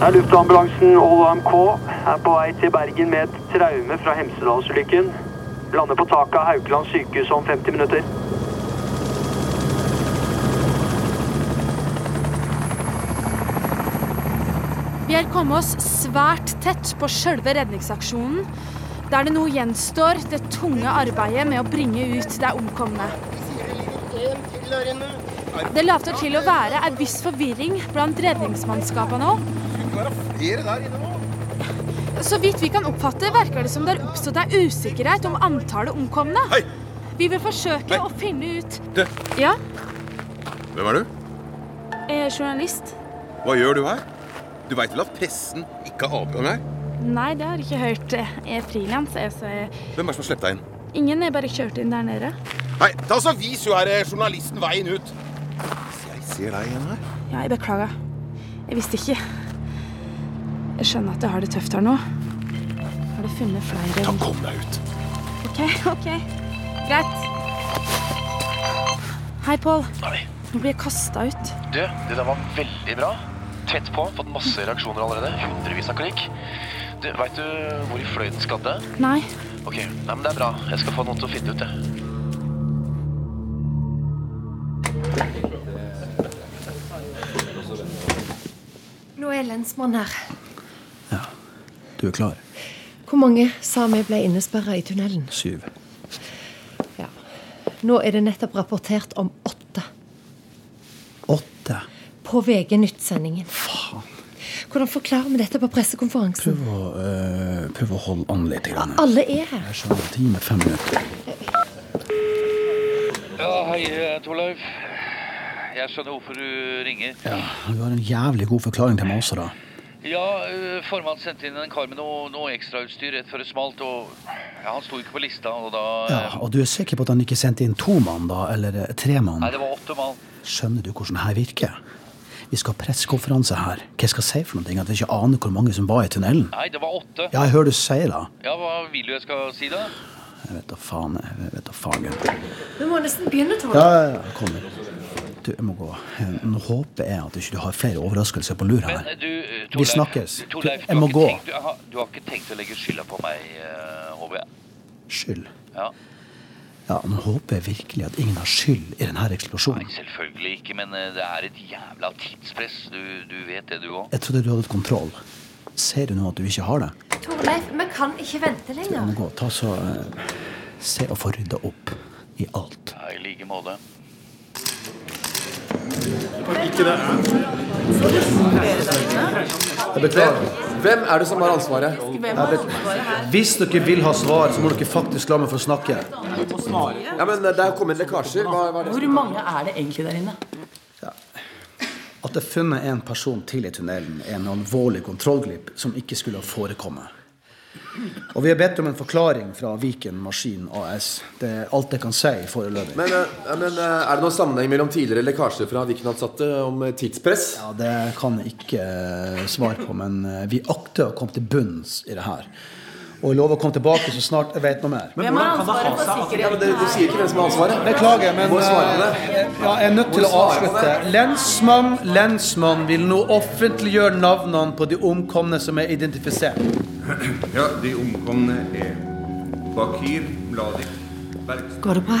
Speaker 25: Her er luftambulansen og AMK er på vei til Bergen med et traume fra Hemsedalsulykken. Lander på taket av Haukeland sykehus om 50 minutter.
Speaker 12: Vi har kommet oss svært tett på selve redningsaksjonen, der det nå gjenstår det tunge arbeidet med å bringe ut de omkomne. Det later til å være en viss forvirring blant redningsmannskapene nå.
Speaker 2: må være flere der inne nå.
Speaker 12: Så vidt vi kan oppfatte, virker det som det har oppstått ei usikkerhet om antallet omkomne. Vi vil forsøke å finne ut
Speaker 2: Du,
Speaker 12: Ja,
Speaker 2: hvem er du?
Speaker 12: jeg er journalist.
Speaker 2: Hva gjør du her? Du veit vel at pressen ikke har adgang her?
Speaker 12: Nei, det har jeg ikke hørt. Jeg er frilans, jeg, så jeg
Speaker 2: Hvem er det som har sluppet deg inn?
Speaker 12: Ingen er bare kjørt inn der nede.
Speaker 2: Nei, ta så vis jo her eh, journalisten veien ut. Hvis jeg ser deg igjen her
Speaker 12: Ja, jeg beklager. Jeg visste ikke. Jeg skjønner at jeg har det tøft her nå. Har du funnet flere Ta
Speaker 2: Kom deg ut.
Speaker 12: OK, OK. Greit. Hei, Pål. Nå blir jeg kasta ut.
Speaker 11: Du, det der var veldig bra. Tett på, fått masse reaksjoner allerede. Hundrevis av klikk. Du, Veit du hvor i fløyten skadde?
Speaker 12: Nei.
Speaker 11: Ok, nei, men det er bra. Jeg skal få noen til å finne ut det.
Speaker 13: Nå er lensmannen her.
Speaker 4: Du er klar.
Speaker 13: Hvor mange sa vi ble innesperra i tunnelen?
Speaker 4: Syv.
Speaker 13: Nå er det nettopp rapportert om åtte.
Speaker 4: Åtte.
Speaker 13: På VG Nytt-sendingen. Faen. Hvordan forklarer vi dette på pressekonferansen?
Speaker 4: Prøv å, eh, prøv å holde an litt. Grann.
Speaker 13: Alle er her.
Speaker 4: Jeg skjønner. Ti med fem minutter.
Speaker 7: Ja, hei, eh, Torleif. Jeg skjønner hvorfor du ringer.
Speaker 4: Ja, Du har en jævlig god forklaring til meg også, da.
Speaker 7: Ja, eh, formannen sendte inn en kar med noe, noe ekstrautstyr rett før det smalt, og ja, han sto ikke på lista, og da eh,
Speaker 4: Ja, Og du er sikker på at han ikke sendte inn to mann, da? Eller eh, tre mann?
Speaker 7: Nei, det var åtte mann.
Speaker 4: Skjønner du hvordan det her virker? Vi skal ha pressekonferanse her. Hva skal jeg si for noe? At jeg ikke aner hvor mange som var i tunnelen?
Speaker 7: Nei, det var åtte.
Speaker 4: Ja, jeg hører du sier det.
Speaker 7: Ja, hva vil du jeg skal si, da?
Speaker 4: Jeg vet da faen. Jeg vet da fagen.
Speaker 13: Vi må nesten begynne, Torleif.
Speaker 4: Ja, ja, ja, jeg kommer. Du, jeg må gå. Eh, Nå håper jeg at ikke du ikke har flere overraskelser på lur her.
Speaker 7: Men du, eh,
Speaker 4: Vi
Speaker 7: Torleif,
Speaker 4: snakkes. Du,
Speaker 7: Torleif, du
Speaker 4: jeg må
Speaker 7: har ikke
Speaker 4: gå.
Speaker 7: Tenkt, du, har, du har ikke tenkt å legge skylda på meg, eh, håper jeg?
Speaker 4: Skyld.
Speaker 7: Ja,
Speaker 4: Ja, Nå håper jeg virkelig at ingen har skyld i denne eksplosjonen.
Speaker 7: Selvfølgelig ikke, men eh, det er et jævla tidspress. Du, du vet det, du òg.
Speaker 4: Jeg trodde du hadde kontroll. Ser du nå at du ikke har det?
Speaker 13: Torleif, vi kan ikke vente
Speaker 4: Du
Speaker 13: lenger.
Speaker 4: må gå. Ta så eh, Se og få rydda opp i alt.
Speaker 7: Ja, I like måte.
Speaker 26: eh, Jeg beklager. Hvem er det som har ansvaret?
Speaker 4: Hvis dere vil ha svar, så må dere faktisk la meg få snakke.
Speaker 26: Ja, men Det er kommet lekkasjer. Hva, hva er det?
Speaker 27: Hvor mange er det egentlig der inne?
Speaker 4: At det er funnet en person til i tunnelen, er en alvorlig kontrollglipp som ikke skulle ha forekommet. Og vi har bedt om en forklaring fra Viken Maskin AS. Det er alt jeg kan si foreløpig.
Speaker 26: Men, eh, ja, men eh, Er det noen sammenheng mellom tidligere lekkasjer fra Viken-ansatte om eh, tidspress?
Speaker 4: Ja, Det kan jeg ikke eh, svare på, men eh, vi akter å komme til bunns i det her. Og jeg lover å komme tilbake så snart jeg vet noe mer.
Speaker 27: Hvem har ansvaret for sikkerheten her?
Speaker 26: Du sier ikke hvem som har ansvaret.
Speaker 4: Beklager, men
Speaker 26: Må jeg svare på det?
Speaker 4: eh, ja, jeg er nødt til å avslutte. Lensmann, lensmann vil nå offentliggjøre navnene på de omkomne som er identifisert.
Speaker 5: Ja, de omkomne er Bakir Mladik Bergstø.
Speaker 13: Går det bra?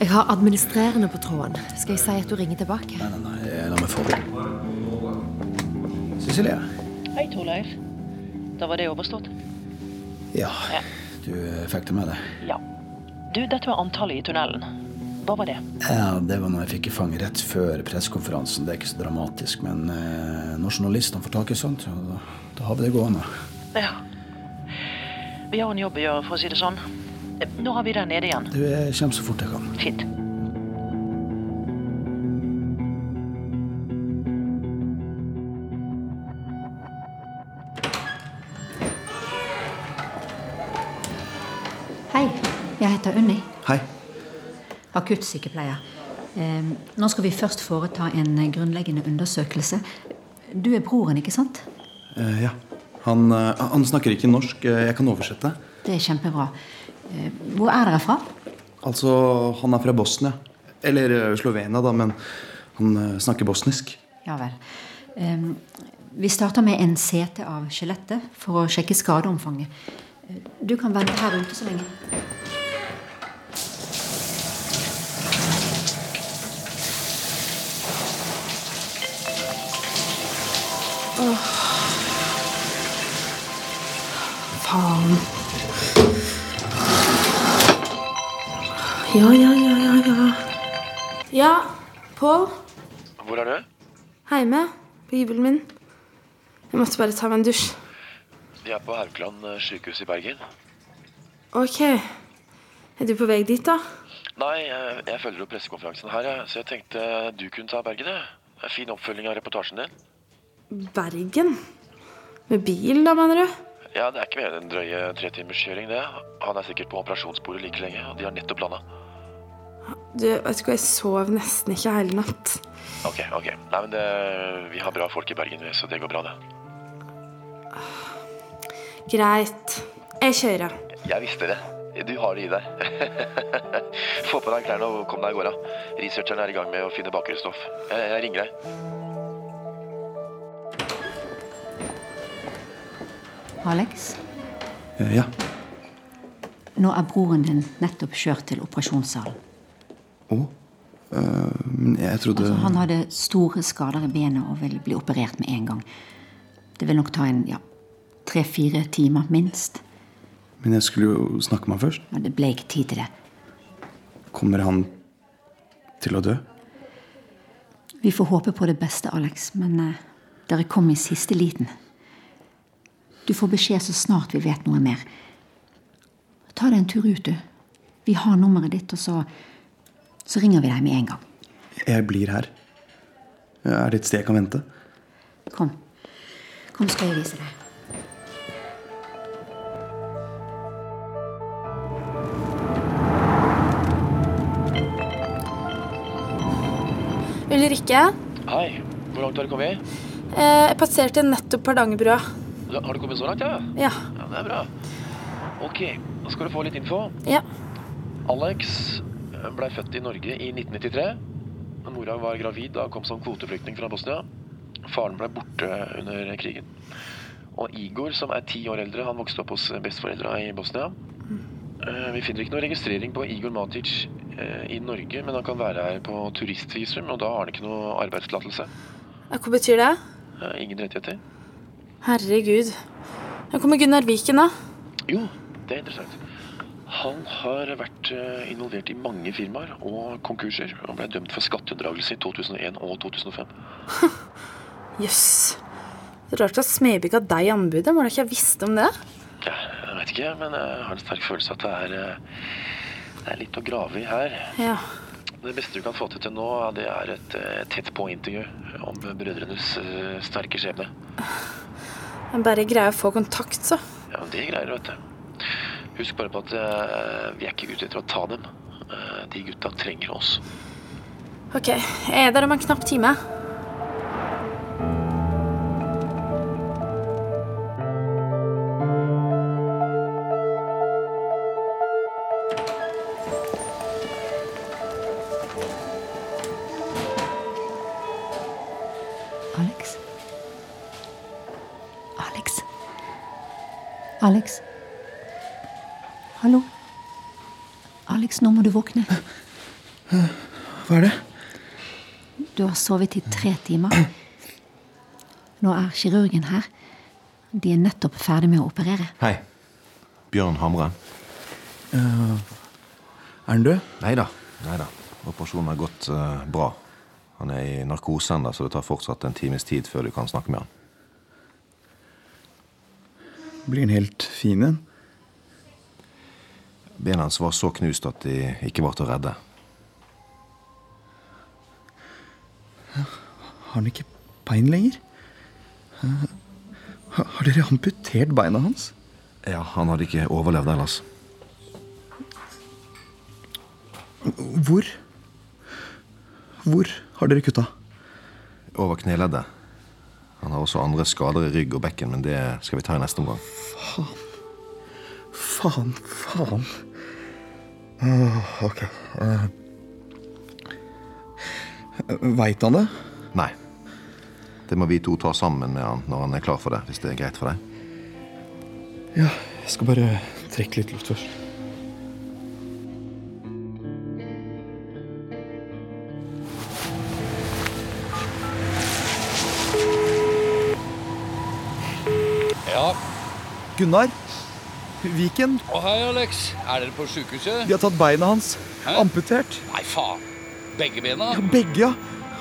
Speaker 13: Jeg har administrerende på tråden. Skal jeg si at du ringer tilbake? Nei,
Speaker 4: nei, nei. eh, La meg få det. Cecilie?
Speaker 28: Hei, Torleif. Da var det overstått.
Speaker 4: Ja, du eh, fikk det med deg?
Speaker 28: Ja. Du, dette var antallet i tunnelen. Hva var det?
Speaker 4: Ja, Det var noe jeg fikk i fanget rett før pressekonferansen. Det er ikke så dramatisk, men eh, når journalistene får tak i sånt, ja, da, da har vi det gående.
Speaker 28: Ja. Vi har en jobb å gjøre, for å si det sånn. Eh, Nå har vi den nede igjen.
Speaker 4: Du, jeg kommer så fort jeg kan.
Speaker 28: Fint.
Speaker 29: Hei, jeg heter Unni,
Speaker 26: Hei.
Speaker 29: akuttsykepleier. Eh, nå skal vi først foreta en grunnleggende undersøkelse. Du er broren, ikke sant?
Speaker 6: Eh, ja. Han, eh, han snakker ikke norsk. eh, Jeg kan oversette.
Speaker 29: Det er kjempebra. Eh, hvor er dere fra?
Speaker 6: Altså, han er fra Bosnia. Eller eh, Slovenia, da, men han eh, snakker bosnisk.
Speaker 29: Ja vel. Eh, vi starter med en CT av skjelettet for å sjekke skadeomfanget. Eh, Du kan vente her ute så lenge.
Speaker 12: Åh. Faen. Ja, ja, ja, ja, ja. Ja, Pål.
Speaker 11: Hvor er du?
Speaker 12: Heime. På hybelen min. Jeg måtte bare ta meg en dusj.
Speaker 11: De er på Haukeland eh, sykehus i Bergen.
Speaker 12: Ok. Er du på vei dit, da?
Speaker 11: Nei, jeg, jeg følger opp pressekonferansen her, jeg, så jeg tenkte du kunne ta Bergen. jeg. Det er Fin oppfølging av reportasjen din.
Speaker 12: Bergen? Med bil, da, mener du?
Speaker 11: Ja, Det er ikke mer enn en drøye tre timers kjøring, det. Han er sikkert på operasjonsbordet like lenge, og de har nettopp landa.
Speaker 12: Du, vet du hva, jeg sov nesten ikke hele natt.
Speaker 11: Ok, ok. Nei, men det, vi har bra folk i Bergen, vi, så det går bra, det.
Speaker 12: Greit. Jeg kjører.
Speaker 11: Jeg visste det. Du har det i deg. Få på deg klærne og kom deg av gårde. Researcheren er i gang med å finne bakerstoff. Jeg, jeg ringer deg.
Speaker 29: Alex,
Speaker 6: Eh, Ja.
Speaker 29: nå er broren din nettopp kjørt til operasjonssalen.
Speaker 6: Eh, Men jeg trodde
Speaker 29: Altså, han hadde store skader i benet og vil bli operert med en gang. Det vil nok ta en ja, tre-fire timer, minst.
Speaker 6: Men jeg skulle jo snakke med han først.
Speaker 29: Men det ble ikke tid til det.
Speaker 6: Kommer han til å dø?
Speaker 29: Vi får håpe på det beste, Alex, men eh, dere kom i siste liten. Du får beskjed så snart vi vet noe mer. Ta deg en tur ut, du. Vi har nummeret ditt, og så, så ringer vi deg med en gang.
Speaker 6: Jeg blir her. Er det et sted jeg kan vente?
Speaker 29: Kom. Kom, skal jeg vise deg.
Speaker 12: Ulrikke,
Speaker 11: Hei. Hvor langt har du kommet?
Speaker 12: eh, jeg passerte nettopp Pardangerbrua.
Speaker 11: La- Har du kommet så langt, ja?
Speaker 12: Ja.
Speaker 11: Ja, Det er bra. Ok, da skal du få litt info.
Speaker 12: Ja.
Speaker 11: Alex eh, ble født i Norge i 1993. Mora var gravid da og kom som kvoteflyktning fra Bosnia. Faren ble borte under krigen. Og Igor, som er ti år eldre, han vokste opp hos besteforeldra i Bosnia. Eh, Vi finner ikke noe registrering på Igor Matic eh, i Norge, men han kan være her på turistvisum, og da har han ikke noe arbeidstillatelse.
Speaker 12: Ja, Hva betyr det?
Speaker 11: Eh, Ingen rettigheter.
Speaker 12: Herregud. Hvor kommer Gunnar Viken, da?
Speaker 11: Jo, det er interessant. Han har vært eh, involvert i mange firmaer og konkurser, og ble dømt for skatteunndragelse i 2001 og 2005.
Speaker 12: Jøss. Det er Rart at Smedby ga deg anbudet. Må da ikke jeg visst om det?
Speaker 11: Ja, jeg vet ikke, men eh, jeg har en sterk følelse at det er, eh, det er litt å grave i her.
Speaker 12: Ja.
Speaker 11: Det beste du kan få til til nå, det er et eh, tett på-intervju om brødrenes eh, sterke skjebne.
Speaker 12: Jeg bare greier å få kontakt, så.
Speaker 11: Ja, men det greier du, vet du. Husk bare på at eh, vi er ikke ute etter å ta dem. Eh, De gutta trenger oss.
Speaker 12: OK. Jeg er der om en knapp time.
Speaker 29: Alex? Alex? Alex? Hallo? Alex, nå må du våkne.
Speaker 6: Hva er det?
Speaker 29: Du har sovet i tre timer. Nå er kirurgen her. De er nettopp ferdig med å operere.
Speaker 30: Hei. Bjørn Hamre.
Speaker 6: Eh, er han død?
Speaker 30: Nei da. Operasjonen har gått eh, bra. Han er i narkose ennå, så det tar fortsatt en times tid før du kan snakke med han.
Speaker 6: Blir han helt fin igjen?
Speaker 30: Bena hans var så knust at de ikke var til å redde.
Speaker 6: Har han ikke bein lenger? Eh, ha- Har dere amputert beina hans?
Speaker 30: Ja, Han hadde ikke overlevd ellers.
Speaker 6: Hvor? Hvor har dere kutta?
Speaker 30: Over kneleddet. Han har også andre skader i rygg og bekken, men det skal vi ta i neste omgang.
Speaker 6: Faen. Faen, faen. Åh, ok.
Speaker 24: Eh,
Speaker 6: Uh, Veit han det?
Speaker 30: Nei. Det må vi to ta sammen med han når han er klar for det, hvis det er greit for deg.
Speaker 6: Ja, jeg skal bare trekke litt luft først.
Speaker 7: Ja.
Speaker 6: Gunnar? Viken?
Speaker 7: Å, hei, Alex. Er dere på sykehuset?
Speaker 6: De har tatt beina hans.
Speaker 7: Hæ?
Speaker 6: Amputert.
Speaker 7: Nei, faen. Begge bena?
Speaker 6: Ja, begge, ja.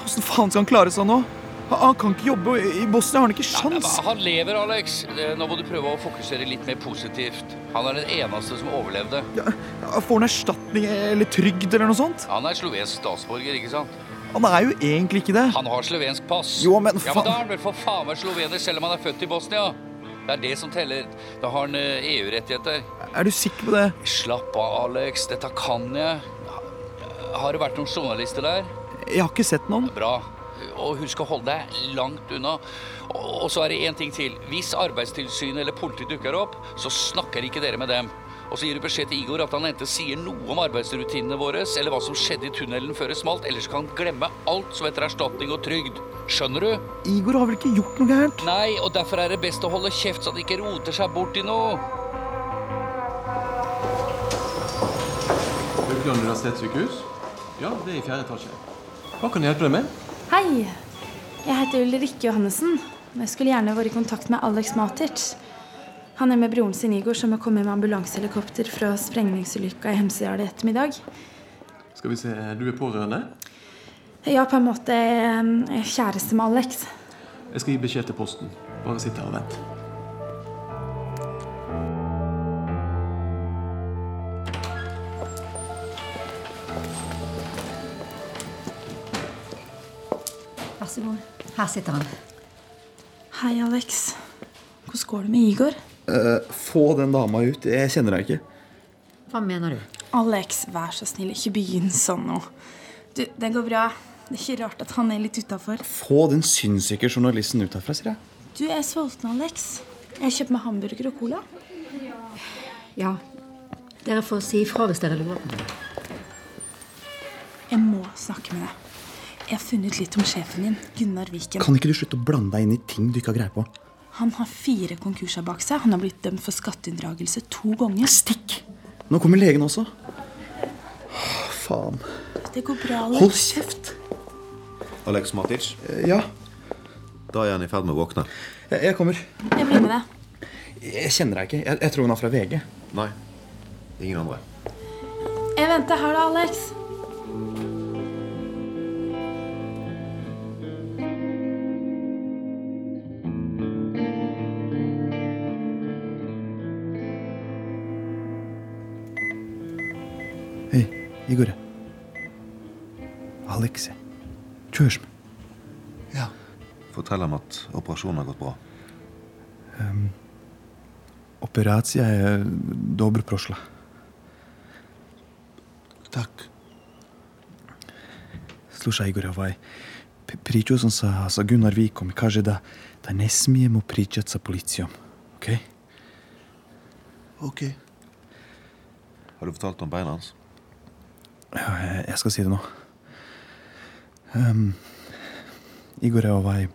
Speaker 6: Åssen faen skal han klare seg nå?
Speaker 24: Han kan ikke jobbe i Bosnia, har han ikke sjans?
Speaker 7: Han lever, Alex. Eh, Nå må du prøve å fokusere litt mer positivt. Han er den eneste som overlevde.
Speaker 24: Får han erstatning eller trygd eller noe sånt?
Speaker 7: Han er slovensk statsborger, ikke sant?
Speaker 24: Han er jo egentlig ikke det.
Speaker 7: Han har slovensk pass.
Speaker 24: Jo, men
Speaker 7: Ja, men da
Speaker 24: faen.
Speaker 7: er han vel for faen meg slovener, selv om han er født i Bosnia. Det er det som teller. Da har han eh, EU-rettigheter.
Speaker 24: Er du sikker på det?
Speaker 7: Slapp av, Alex. Dette kan jeg. Ha- Har det vært noen journalister der?
Speaker 24: Jeg har ikke sett noen.
Speaker 7: Bra. Og husk å holde deg langt unna. Og og så er det én ting til. Hvis Arbeidstilsynet eller politiet dukker opp, så snakker ikke dere med dem. Og så gir du beskjed til Igor at han enten sier noe om arbeidsrutinene våre, eller hva som skjedde i tunnelen før det smalt, eller så kan han glemme alt som heter erstatning og trygd. Skjønner du?
Speaker 24: Igor har vel ikke gjort noe gærent?
Speaker 7: Nei, og derfor er det best å holde kjeft så han ikke roter seg bort i noe.
Speaker 1: Haukeland universitetssykehus? Ja, det er i fjerde etasje. Hva kan jeg hjelpe deg med?
Speaker 12: Hei, jeg heter Ulrikke Johannessen. og Jeg skulle gjerne vært i kontakt med Alex Matic. Han er med broren sin Igor, som har kommet med ambulansehelikopter fra sprengningsulykka i Hemsedal i ettermiddag.
Speaker 1: Skal vi se, eh, du er pårørende?
Speaker 12: Ja, på en måte em, jeg er kjæreste med Alex.
Speaker 1: Jeg skal gi beskjed til posten. Bare sitt her og vent.
Speaker 29: Vær så god. Her sitter han.
Speaker 12: Hei, Alex. Hvordan går det med Igor?
Speaker 6: Eh, få den dama ut. Jeg kjenner deg ikke.
Speaker 29: Hva mener du?
Speaker 12: Alex, vær så snill, ikke begynn sånn nå. Du, det går bra. Det er ikke rart at han er litt utafor.
Speaker 6: Få den sinnssyke journalisten ut herfra, sier jeg.
Speaker 12: Du jeg er sulten, Alex. Jeg kjøper meg hamburger og cola.
Speaker 29: Ja, dere får si ifra hvis dere lurer på noe.
Speaker 12: Jeg må snakke med deg. Jeg har funnet ut litt om sjefen din, Gunnar Viken.
Speaker 6: Kan ikke du slutte å blande deg inn i ting du ikke har greie på?
Speaker 12: Han har fire konkurser bak seg. Han har blitt dømt for skatteunndragelse to ganger. Stikk!
Speaker 6: Nå kommer legen også. Åh, faen.
Speaker 12: Det går bra. Alex.
Speaker 6: Hold kjeft!
Speaker 30: Alex Matic?
Speaker 6: Eh, Ja,
Speaker 30: Da er han i ferd med å våkne.
Speaker 6: jeg, jeg kommer.
Speaker 12: Jeg blir med deg.
Speaker 6: Jeg kjenner deg ikke. Jeg, jeg tror hun er fra VG.
Speaker 30: Nei. Ingen andre.
Speaker 12: Jeg venter her, da, Alex.
Speaker 6: Hei, Igor. Alex. Чуешь meg?
Speaker 30: Fortell ham at operasjonen har gått bra.
Speaker 6: Ehm, Operacija je dobro prošla. Tak. Slušaj, Igor, ovaj, pri- pričao sam sa, sa Gunnar Vikom i kaže da, da ne smijemo pričati sa policijom. Ok?
Speaker 30: Ok. Har du fortalt om beina hans?
Speaker 6: Evo, ja, ja skal si det nå. Ehm, Igor, ovaj...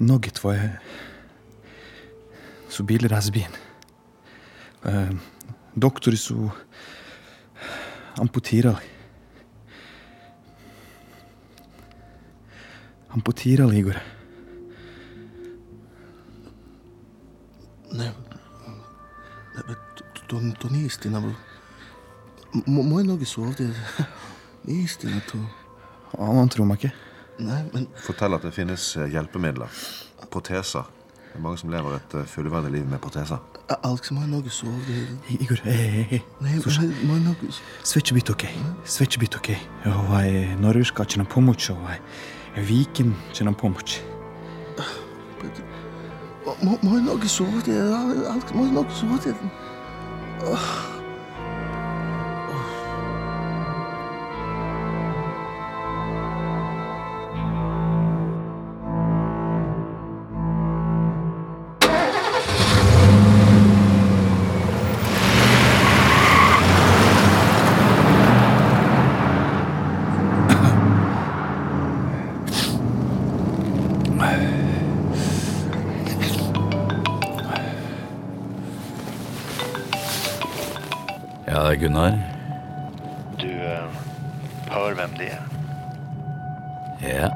Speaker 6: Noge tvoje su bili razbijen. Ehm, doktori su amputirali. Amputirali, Igor.
Speaker 8: Ne, ne pa to, to, to nije istina. bro. Mo, moje noge su ovdje. Nije istina to.
Speaker 6: Han, han tror meg ikke.
Speaker 8: Nei, men
Speaker 30: Fortell at det finnes eh, hjelpemidler. Proteser. Det er mange som lever et eh, fullverdig liv med proteser.
Speaker 8: A- Alex, moje noge su ovdje.
Speaker 6: Igor, hej, hej, hej.
Speaker 8: Ne,
Speaker 6: Slušaj.
Speaker 8: ne, moje noge su...
Speaker 6: Sve će biti okej. Sve će biti okej. Ovaj, Norveška će nam pomoći, ovaj, eh, Viken će nam pomoći.
Speaker 8: O, Mo, moje noge su ovdje. Ale- Alex, moje noge su ovdje. Ah.
Speaker 7: Ja, det er Gunnar.
Speaker 11: Du eh, hör vem det är.
Speaker 7: Ja.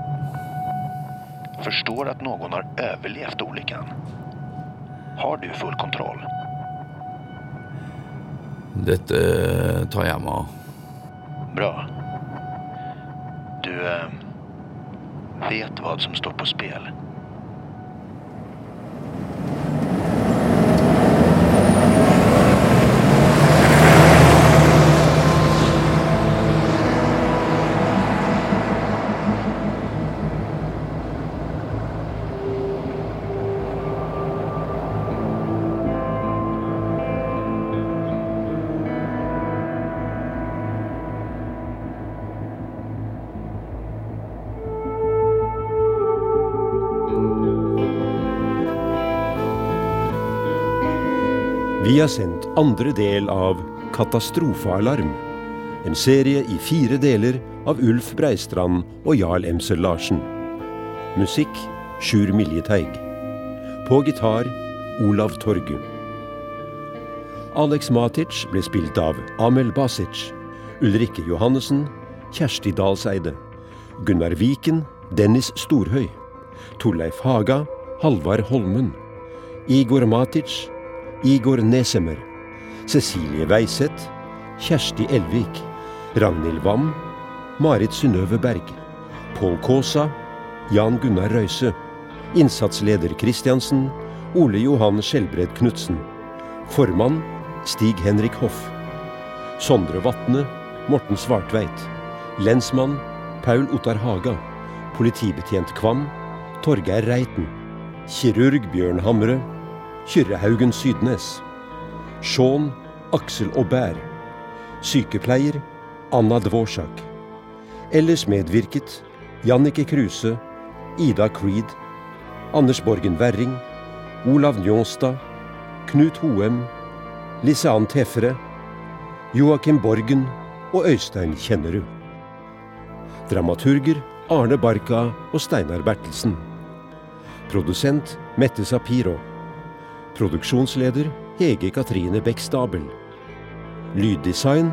Speaker 11: Förstår att någon har överlevt olyckan. Har du full kontroll?
Speaker 7: Dette eh, tar jeg meg av.
Speaker 11: Bra. Du, eh, vet vad som står på spel.
Speaker 3: Vi har sendt andre del av Katastrofealarm. En serie i fire deler av Ulf Breistrand og Jarl Emser Larsen. Musikk Sjur Miljeteig. På gitar Olav Torgu. Alex Matic ble spilt av Amel Basic. Ulrikke Johannessen, Kjersti Dalseide. Gunnar Viken, Dennis Storhøy. Torleif Haga, Halvard Holmen. Igor Matic, Igor Nesemer, Cecilie Weiseth, Kjersti Elvik, Ragnhild Wam, Marit Synnøve Berg, Pål Kaasa, Jan Gunnar Røise, innsatsleder Christiansen, Ole Johan Skjelbred Knutsen, formann Stig-Henrik Hoff, Sondre Vatne, Morten Svartveit, lensmann Paul Ottar Haga, politibetjent Kvam, Torgeir Reiten, kirurg Bjørn Hamre, Kyrrehaugen Sydnes. Sean Aksel Aubert. Sykepleier Anna Dvorsak. Ellers medvirket Jannicke Kruse, Ida Creed, Anders Borgen Werring, Olav Njåstad, Knut Hoem, Liseann Tefre, Joakim Borgen og Øystein Kjennerud. Dramaturger Arne Barka og Steinar Bertelsen. Produsent Mette Sapiro. Produksjonsleder Hege Katrine Bekstabel. Lyddesign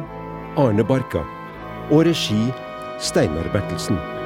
Speaker 3: Arne Barka. Og regi Steinar Bertelsen.